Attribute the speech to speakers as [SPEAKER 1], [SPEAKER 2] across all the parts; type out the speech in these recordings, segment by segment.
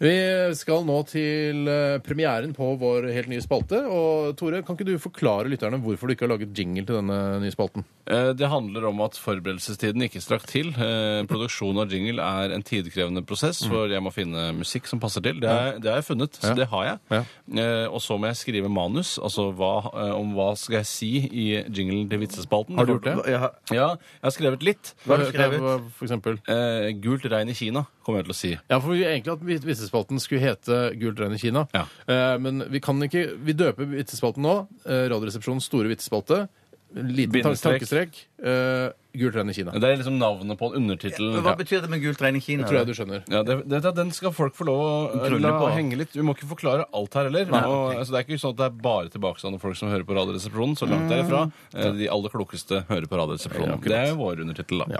[SPEAKER 1] Vi skal nå til eh, premieren på vår helt nye spalte. Og Tore, kan ikke du forklare lytterne hvorfor du ikke har laget jingle til denne nye spalten?
[SPEAKER 2] Eh, Det handler om at forberedelsestiden ikke strakk til. Eh, Produksjon av jingle er en tidkrevende prosess, hvor jeg må finne musikk som passer til. Det har, det har jeg funnet, så
[SPEAKER 1] Mm. Ja.
[SPEAKER 2] det har jeg. Eh, Og så må jeg skrive manus, altså hva, eh, om hva skal jeg si i jinglen til vitsespalten.
[SPEAKER 1] Har du gjort det?
[SPEAKER 3] Ja,
[SPEAKER 2] Ja, jeg har skrevet litt.
[SPEAKER 3] Hva har du skrevet?
[SPEAKER 1] Hva- For eksempel.
[SPEAKER 2] Eh, gult regn i Kina, kommer jeg til å si.
[SPEAKER 1] Ja, for vi ville egentlig at vit- vitsespalten skulle hete Gult regn i Kina.
[SPEAKER 2] Ja.
[SPEAKER 1] Eh, men vi kan ikke Vi døper vitsespalten nå. Eh, Radioresepsjonens store vitsespalte. Liten tan-
[SPEAKER 2] Bindestrek.
[SPEAKER 1] tankestrek. Eh, Gult regn i Kina.
[SPEAKER 2] Det er liksom navnet på den, undertittelen.
[SPEAKER 3] Hva betyr det med gult regn i Kina?
[SPEAKER 1] Tror jeg du
[SPEAKER 3] da?
[SPEAKER 1] skjønner.
[SPEAKER 2] Ja, det, det, det- Den skal folk få lov å eh,
[SPEAKER 3] Grulle
[SPEAKER 2] la
[SPEAKER 3] på.
[SPEAKER 2] henge litt. Vi må ikke forklare alt her heller.
[SPEAKER 3] Nei,
[SPEAKER 2] og,
[SPEAKER 3] ok.
[SPEAKER 2] altså, det er ikke sånn at det er bare tilbakestående folk som hører på Radioresepsjonen. Så langt derifra.
[SPEAKER 3] Mm.
[SPEAKER 2] Eh, De aller klokeste hører på Radioresepsjonen. det er jo vår undertittel, da.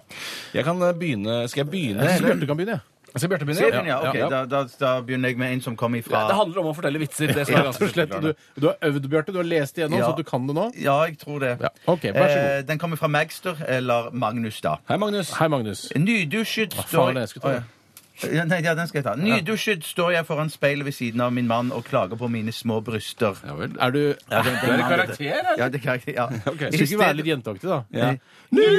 [SPEAKER 2] Jeg kan eh, begynne Skal jeg begynne?
[SPEAKER 1] Jeg syns
[SPEAKER 2] eller?
[SPEAKER 1] Bjarte kan begynne, jeg.
[SPEAKER 2] Skal Bjarte begynne?
[SPEAKER 3] Ser du den, ja? Ok,
[SPEAKER 2] Ja.
[SPEAKER 3] Da, da, da begynner jeg med en som kom ifra
[SPEAKER 2] Det handler om å fortelle vitser. Det som er
[SPEAKER 1] Rett og
[SPEAKER 2] ganske
[SPEAKER 1] slett.
[SPEAKER 2] selvforklarende.
[SPEAKER 1] Du, du har øvd, Bjarte. Du har lest igjennom,
[SPEAKER 3] Ja.
[SPEAKER 1] så du kan det nå.
[SPEAKER 3] Ja, jeg tror det.
[SPEAKER 1] Ja, ok, vær så god.
[SPEAKER 3] Eh, den kommer fra Magster, eller Magnus, da.
[SPEAKER 2] Hei, Magnus.
[SPEAKER 1] Hei, Magnus.
[SPEAKER 3] Nydusjet
[SPEAKER 1] faen,
[SPEAKER 3] står
[SPEAKER 1] jeg skulle ta den.
[SPEAKER 3] Å, ja. Ja, Nei, ja, den skal jeg ta. Nydusjet står jeg foran speilet ved siden av min mann og klager på mine små bryster.
[SPEAKER 2] Ja vel.
[SPEAKER 1] Er du
[SPEAKER 3] Ja, det
[SPEAKER 2] Er det karakter, eller?
[SPEAKER 3] Ja, det kan jeg, ja.
[SPEAKER 2] Ok.
[SPEAKER 1] Skulle ikke være litt jenteaktig, da?
[SPEAKER 2] Ja.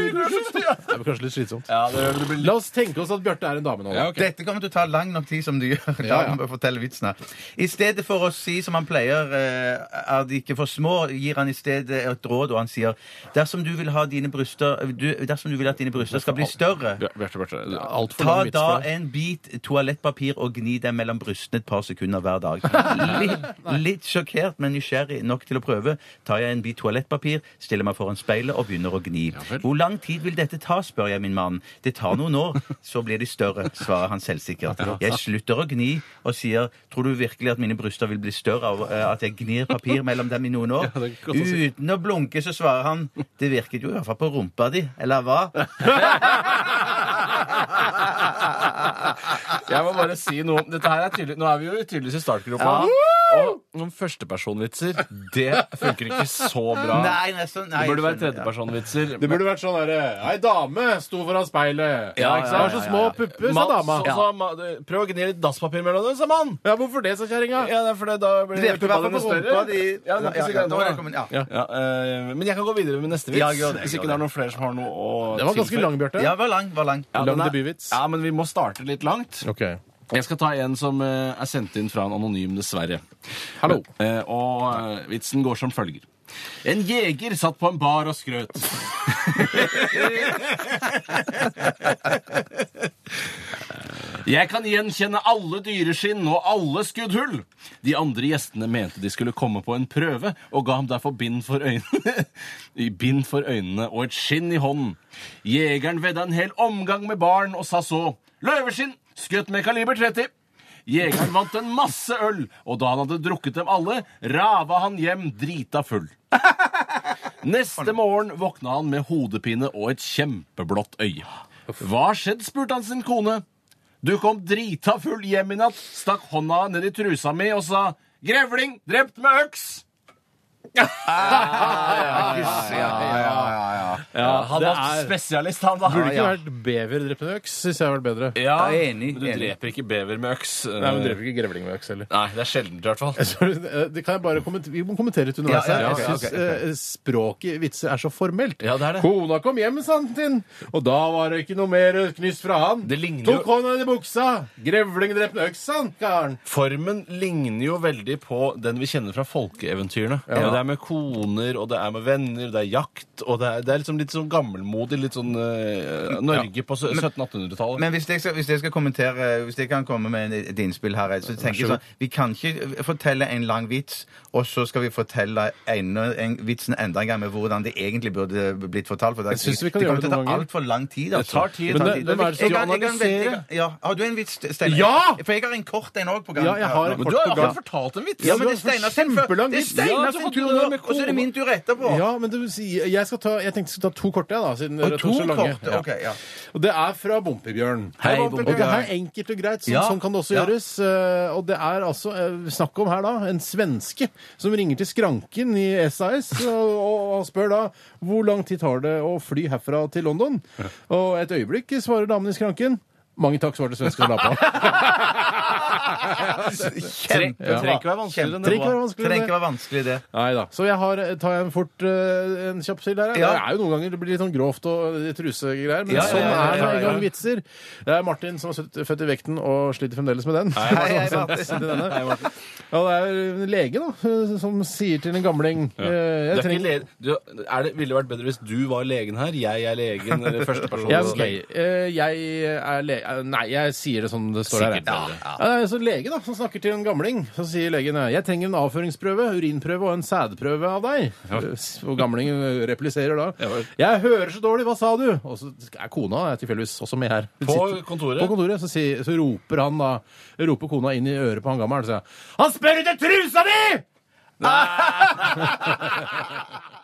[SPEAKER 1] Det er kanskje litt slitsomt.
[SPEAKER 2] Ja, det, det blir
[SPEAKER 1] La oss tenke oss at Bjarte er en dame nå.
[SPEAKER 2] ja, ok.
[SPEAKER 3] Dette kommer til å ta lang nok tid som du gjør. Da
[SPEAKER 1] Ja, ja.
[SPEAKER 3] må jeg fortelle vitsen her. I stedet for å si som han pleier, eh, er de ikke for små, gir han i stedet et råd, og han sier dersom du vil, ha dine bryster, du, dersom du vil at dine bryster skal bli større,
[SPEAKER 2] Bjarte, Bjarte. du-
[SPEAKER 1] Altfor
[SPEAKER 3] ta
[SPEAKER 1] lang vits
[SPEAKER 3] da
[SPEAKER 1] for deg.
[SPEAKER 3] en bit toalettpapir og gni dem mellom brystene et par sekunder hver dag. Litt, litt sjokkert, men nysgjerrig nok til å prøve, tar jeg en bit toalettpapir, stiller meg foran speilet og begynner å gni.
[SPEAKER 2] vel.
[SPEAKER 3] Hvor lang tid vil dette ta, spør jeg min mann. Det tar noen år, så blir de større, svarer han selvsikkert. Jeg slutter å gni og sier, tror du virkelig at mine bryster vil bli større av eh, at jeg gnir papir mellom dem i noen år?
[SPEAKER 1] Ja, det er godt å si.
[SPEAKER 3] Uten å blunke så svarer han, det virket jo i hvert fall på rumpa di, eller hva?
[SPEAKER 2] Jeg må bare si noe. Dette her er tydelig. Nå er vi jo tydeligvis i startgropa. Og noen førstepersonvitser, det funker ikke så bra.
[SPEAKER 3] Nei, nei, så, nei,
[SPEAKER 2] det burde
[SPEAKER 3] jeg
[SPEAKER 2] være
[SPEAKER 3] skjønner, ja.
[SPEAKER 2] tredjepersonvitser.
[SPEAKER 1] Det burde vært sånn derre Ei dame sto foran speilet.
[SPEAKER 2] Ja,
[SPEAKER 1] ikke
[SPEAKER 2] ja,
[SPEAKER 1] sant?
[SPEAKER 2] ja,
[SPEAKER 1] Har så
[SPEAKER 2] ja,
[SPEAKER 1] små
[SPEAKER 2] ja.
[SPEAKER 1] pupper, sa
[SPEAKER 2] Mats,
[SPEAKER 1] dama.
[SPEAKER 2] også, ma- det- Prøv å gni litt dasspapir mellom dem, sa mann!
[SPEAKER 1] Ja, hvorfor det, sa kjerringa?
[SPEAKER 2] Ja, det er fordi da blir
[SPEAKER 3] Det virker i hvert fall på
[SPEAKER 2] puppa dine
[SPEAKER 3] rumpa
[SPEAKER 2] større.
[SPEAKER 3] di-
[SPEAKER 2] Ja, det er ikke
[SPEAKER 3] Ja, ja,
[SPEAKER 2] så
[SPEAKER 3] nå har
[SPEAKER 2] greit nå,
[SPEAKER 3] jeg kommet-
[SPEAKER 2] da.
[SPEAKER 3] ja.
[SPEAKER 2] Ja, eh, Men jeg kan gå videre med neste vits.
[SPEAKER 3] Ja, gjør det,
[SPEAKER 2] hvis
[SPEAKER 3] gjør
[SPEAKER 2] ikke det er noen flere som har noe å
[SPEAKER 1] Det var ganske lang, Bjarte.
[SPEAKER 3] Ja, var lang, var lang.
[SPEAKER 2] Ja,
[SPEAKER 1] lang
[SPEAKER 2] den er-
[SPEAKER 1] debutvits.
[SPEAKER 2] Ja, men vi må starte litt langt.
[SPEAKER 1] Ok.
[SPEAKER 2] Jeg skal ta en som eh, er sendt inn fra en anonym, dessverre.
[SPEAKER 1] Hallo.
[SPEAKER 2] Eh, og eh, vitsen går som følger. En jeger satt på en bar og skrøt. Jeg kan gjenkjenne alle dyreskinn og alle skuddhull. De andre gjestene mente de skulle komme på en prøve, og ga ham derfor bind for øynene, i bind for øynene og et skinn i hånden. Jegeren vedda en hel omgang med barn og sa så løveskinn, skutt med kaliber 30. Jegeren vant en masse øl, og da han hadde drukket dem alle, rava han hjem drita full. Neste morgen våkna han med hodepine og et kjempeblått øye. Hva har skjedd, spurte han sin kone. Du kom drita full hjem i natt, stakk hånda ned i trusa mi og sa 'Grevling drept med øks'. Ja, han
[SPEAKER 1] det
[SPEAKER 2] var
[SPEAKER 1] er-
[SPEAKER 2] spesialist, han, da.
[SPEAKER 1] Burde ikke vært bever drept med øks, syns jeg har vært bedre.
[SPEAKER 2] Ja,
[SPEAKER 3] Jeg er enig,
[SPEAKER 2] men Du
[SPEAKER 3] enig.
[SPEAKER 2] dreper ikke bever med øks. eh.
[SPEAKER 1] Nei, men dreper ikke grevling med øks heller.
[SPEAKER 2] Nei, det er sjeldent, i hvert fall.
[SPEAKER 1] Så, eh, Det kan jeg bare komment- Vi må kommentere litt underveis.
[SPEAKER 3] Ja,
[SPEAKER 1] her.
[SPEAKER 3] ja,
[SPEAKER 1] jeg
[SPEAKER 3] ok,
[SPEAKER 1] syns
[SPEAKER 3] ok,
[SPEAKER 1] eh, språket i vitser er så formelt.
[SPEAKER 2] Ja, det er det.
[SPEAKER 1] Kona kom hjem, sa han til og da var det ikke noe mer knyst fra han.
[SPEAKER 2] Det ligner jo-
[SPEAKER 1] Tok hånda i buksa! Grevling drept med øks, sa han, karen.
[SPEAKER 2] Formen ligner jo veldig på den vi kjenner fra folkeeventyrene. Det er med koner, og det er med venner, det er jakt, og det er, det er liksom litt sånn gammelmodig, litt sånn eh, Norge på sø- 1700-1800-tallet.
[SPEAKER 3] Men hvis jeg, skal, hvis jeg skal kommentere Hvis jeg kan komme med en- et innspill her Så tenker jeg sånn Vi kan ikke fortelle en lang vits Og så skal vi fortelle enda, en, vitsen enda en gang Med hvordan det egentlig burde blitt fortalt for det, er-
[SPEAKER 1] Jeg synes vi kan gjøre
[SPEAKER 3] kommer
[SPEAKER 1] det
[SPEAKER 3] til å
[SPEAKER 1] noen
[SPEAKER 3] ta
[SPEAKER 1] ganger.
[SPEAKER 3] alt for lang tid altså.
[SPEAKER 2] tar tid.
[SPEAKER 1] Men det-
[SPEAKER 3] tid.
[SPEAKER 1] hvem er det som
[SPEAKER 3] Jeg
[SPEAKER 2] skal
[SPEAKER 3] kan- jeg kan velge-
[SPEAKER 2] analysere?
[SPEAKER 3] ja. Har du en vits, Steinar?
[SPEAKER 1] Ja!
[SPEAKER 3] For jeg har en kort en også på gang
[SPEAKER 1] Ja, jeg har en
[SPEAKER 2] Men
[SPEAKER 1] kort
[SPEAKER 2] du har jo
[SPEAKER 1] program.
[SPEAKER 2] akkurat fortalt en vits!
[SPEAKER 3] Ja, men det er
[SPEAKER 1] for
[SPEAKER 3] Steinar sin før-
[SPEAKER 1] kjempelang
[SPEAKER 3] Det er
[SPEAKER 1] vits.
[SPEAKER 2] Ja,
[SPEAKER 3] Steinar
[SPEAKER 2] så
[SPEAKER 3] sin
[SPEAKER 2] får du det
[SPEAKER 3] tur nå
[SPEAKER 2] med
[SPEAKER 3] Og så er det min tur etterpå
[SPEAKER 1] Ja, men det vil si, jeg, skal ta, jeg tenkte jeg skulle ta to korte, jeg, da, siden dere
[SPEAKER 3] Og
[SPEAKER 1] har
[SPEAKER 3] to
[SPEAKER 1] tatt så lange.
[SPEAKER 3] kort Ok, ja
[SPEAKER 1] Og det er fra Bompebjørn.
[SPEAKER 2] Hei,
[SPEAKER 1] Og
[SPEAKER 2] Bompebjørn.
[SPEAKER 1] det her er enkelt og greit. Sånn,
[SPEAKER 3] Ja.
[SPEAKER 1] sånn kan det også
[SPEAKER 3] Ja.
[SPEAKER 1] gjøres. Eh, og det er altså eh, snakk om her da en svenske som ringer til skranken i SAS og, og, og spør da hvor lang tid tar det å fly herfra til London. Og et øyeblikk, svarer damen i skranken. Mange takk, svarte svensken og la på.
[SPEAKER 2] Tre- det trenger ikke være vanskeligere enn det.
[SPEAKER 1] Trenger ikke være vanskeligere enn det.
[SPEAKER 3] Trenger ikke være vanskeligere enn det.
[SPEAKER 1] Nei da. Så jeg har, tar jeg en fort eh, en kjapp til der? jeg?
[SPEAKER 3] Ja.
[SPEAKER 1] Det er jo noen ganger det blir litt sånn grovt og litt trusegreier, men
[SPEAKER 3] Ja, ja,
[SPEAKER 1] sånn
[SPEAKER 3] ja, ja,
[SPEAKER 1] er det
[SPEAKER 3] ja,
[SPEAKER 1] en
[SPEAKER 3] ja.
[SPEAKER 1] gang vitser. Det er Martin som er søtt- født i vekten og sliter fremdeles med den.
[SPEAKER 3] Hei, hei, Martin.
[SPEAKER 1] Sitter denne. Ja, det er en lege da, som sier til en gamling eh,
[SPEAKER 2] Det,
[SPEAKER 1] jeg
[SPEAKER 2] er ikke
[SPEAKER 1] trenger...
[SPEAKER 2] le du, er det, ville det vært bedre hvis du var legen her, jeg er legen, eller førsteperson?
[SPEAKER 1] Jeg, ok, eh, jeg er le... eh, Nei, jeg sier det som det står her. jeg.
[SPEAKER 2] Sikkert bedre.
[SPEAKER 1] Ja, det er så lege da, som snakker til en gamling, så sier legen eh, jeg trenger en avføringsprøve, urinprøve og en sædprøve av deg. Eh, Og gamlingen eh, repliserer
[SPEAKER 2] Ja,
[SPEAKER 1] da.
[SPEAKER 2] vel.
[SPEAKER 1] Jeg hører så dårlig, hva sa du? Og så er kona er tilfeldigvis også med her. Hun
[SPEAKER 2] På
[SPEAKER 1] sitter-
[SPEAKER 2] kontoret?
[SPEAKER 1] På kontoret, så, sier, så roper han da, roper kona inn i øret på han gammelen, så sier han, han spør etter trusa di!